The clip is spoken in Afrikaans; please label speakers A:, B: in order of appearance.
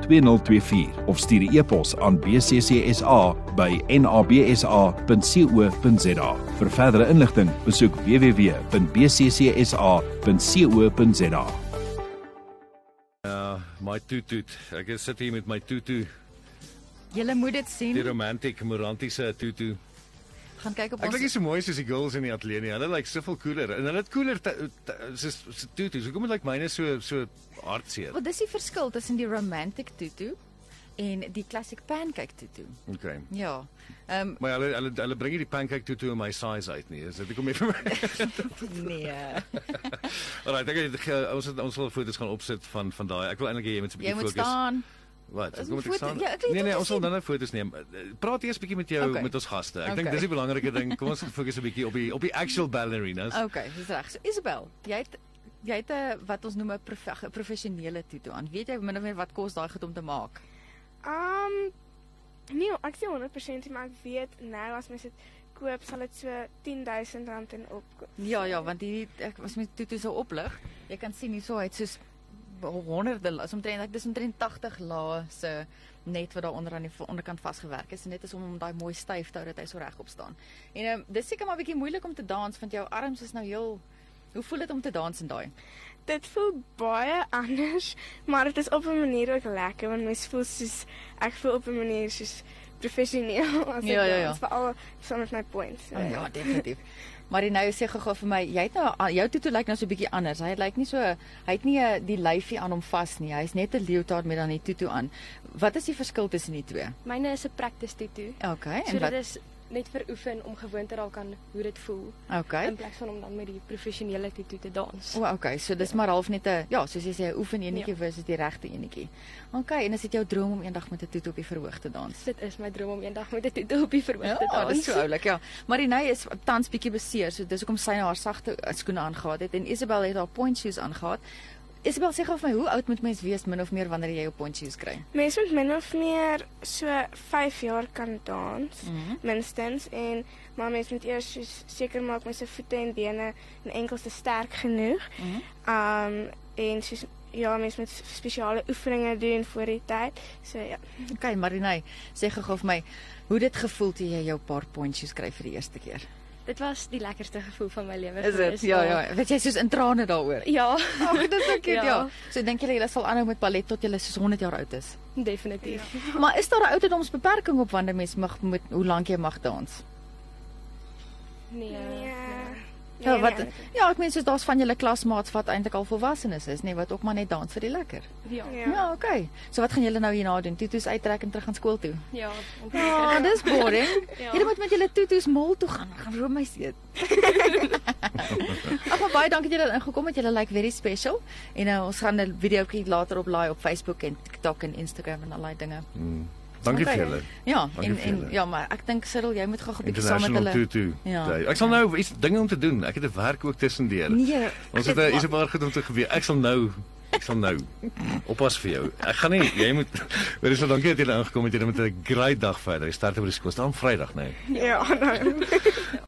A: 2024 of stuur 'n e-pos aan bccsa by nabsa.co.za. Vir verdere inligting, besoek www.bccsa.co.za.
B: Ja, my toetoet. Ek is sit hier met my toetoet.
C: Julle moet dit sien.
B: Die romantic morantiese toetoet.
C: Gaan kyk op
B: Ek
C: ons.
B: dink dit is so mooi soos die girls in die ateljee nie. Hulle lyk like soveel cooler en hulle het cooler te- te- soos so toetoets. Hoekom lyk like myne so so hartseer?
C: Wel, dis die verskil tussen die romantic tutu en die classic pancake tutu.
B: Okay.
C: Ja. Ehm
B: Maar hulle hulle hulle bring nie die pancake toetoet in my size uit nie. Is dit hoekom jy vir my?
C: nee.
B: Alraai, ek het ge- ons het ons wil foto's gaan opsit van van daai. Ek wil eintlik hê jy moet so 'n
C: Jy
B: bietjie
C: moet
B: fokus.
C: staan.
B: Wat?
C: Is
B: Hoekom
C: die
B: moet ek
C: foto-
B: staan?
C: Ja, ek weet
B: nee
C: nie
B: nee,
C: of
B: ons
C: jy-
B: sal nou-nou foto's neem. Eh, Praat eers bietjie met jou
C: Okay.
B: okay. met ons gaste. Ek okay.
C: Okay.
B: dink dis die belangrike ding. Kom ons fokus 'n bietjie op die op die actual ballerinas.
C: Okay, dis reg. So Isabel, jy het jy het 'n wat ons noem 'n prof, 'n professionele tutu aan. Weet jy min of meer wat kos daai goed om te maak?
D: Um nee, ek sê 100% nie, maar ek weet nou as mens dit koop sal dit so R10000 en opkom.
C: Ja ja, want hierdie ek was met tutu so oplig. Jy kan sien hierso hy het soos honderde as omtrent ek dis omtrent 80 lae se net wat daar onder aan die vo- onderkant vasgewerk is en net is om hom daai mooi styf te hou dat hy so regop staan. En um, dis seker maar 'n bietjie moeilik om te dans want jou arms is nou heel Hoe voel dit om te dans in daai?
D: Dit voel baie anders, maar dit is op 'n manier ook lekker want mens voel soos ek voel op 'n manier soos professioneel as
C: Ja,
D: ek
C: ja, ja.
D: dans, veral saam met my points.
C: Oh, ja, definitief. Maar die nou sê gou-gou vir my, jy het nou a- jou tutu lyk nou so 'n bietjie anders. Hy lyk nie so hy het nie eh, die lyfie aan hom vas nie. Hy's net 'n leotard met dan die tutu aan. Wat is die verskil tussen die twee?
E: Myne is 'n practice tutu.
C: OK, en
E: So dit
C: wat
E: is net vir oefen om gewoon te raak aan hoe dit voel
C: OK.
E: in plek van om dan met die professionele tutu te dans.
C: O, oh, okay, so dis maar half net 'n ja, soos jy sê, 'n oefen enetjie versus die regte enetjie. Okay, en is dit jou droom om eendag met 'n toet op die verhoog te dans?
E: Dit is my droom om eendag met 'n tutu op die verhoog te
C: Ja,
E: dans.
C: dit is so oulik, ja. Marinay is tans bietjie beseer, so dis hoekom sy nou haar sagte eh, skoene aangehad het en Isabel het haar point shoes aangehad. Isabel sê gou vir my, hoe oud moet mens wees min of meer wanneer jy jou point shoes kry?
D: Mense moet min of meer so 5 jaar kan dans
C: Mhm.
D: minstens en maar mens moet eers soos seker maak met se voete en bene en enkels is sterk genoeg.
C: Mhm.
D: Um en soos ja, mens moet spesiale oefeninge doen voor die tyd. So ja.
C: Okay, Marinay, sê gou gou vir my, hoe dit gevoel toe jy jou paar point shoes kry vir die eerste keer?
E: Dit was die lekkerste gevoel van my lewe.
C: Is dit?
E: gewees,
C: Ja, ja, weet jy soos in trane daaroor.
E: Ja,
C: Ag, dis so cute, ja.
E: Ja.
C: ja. So dink julle julle sal aanhou met ballet tot julle soos 100 jaar oud is.
E: definitief.
C: Maar is daar 'n ouderdomsbeperking op wanneer mens mag moet hoe lank jy mag dans?
E: Nee.
C: Ja, wat
D: nee.
C: Ja, ek meen soos daar's van julle klasmaats wat eintlik al volwassenes is, nê, nee, wat ook maar net dans vir die lekker.
E: Ja.
D: Ja.
C: Ja, ja okay. So wat gaan julle nou hierna doen? Tutus uittrek en terug aan skool toe.
E: Ja. om-
C: Ja, dis boring.
E: Ja.
C: Julle moet met julle tutus mol toe gaan, gaan room my eet. Ag, maar baie dankie dat julle ingekom het. Julle lyk like very special en uh, ons gaan 'n videoetjie later oplaai op Facebook en TikTok en Instagram en al daai dinge.
B: Dankie
C: Okay.
B: vir julle.
C: Ja,
B: Dankie
C: en
B: vir
C: en
B: julle.
C: ja, maar ek dink Cyril, jy moet gou 'n bietjie saam met
B: International
C: hulle.
B: Tutu.
C: Ja.
B: Day. Ek sal nou iets dinge om te doen. Ek het 'n werk ook tussendeur.
C: Nee.
B: Ons het 'n is 'n paar goed om te gebeur. Ek sal nou ek sal nou oppas vir jou. Ek gaan nie jy moet Hoor is al dankie nou dat jy ingekom het. Jy het met 'n great dag verder. Jy start op die skool. Dit is aan Vrydag, né? Nee.
D: Ja, nou.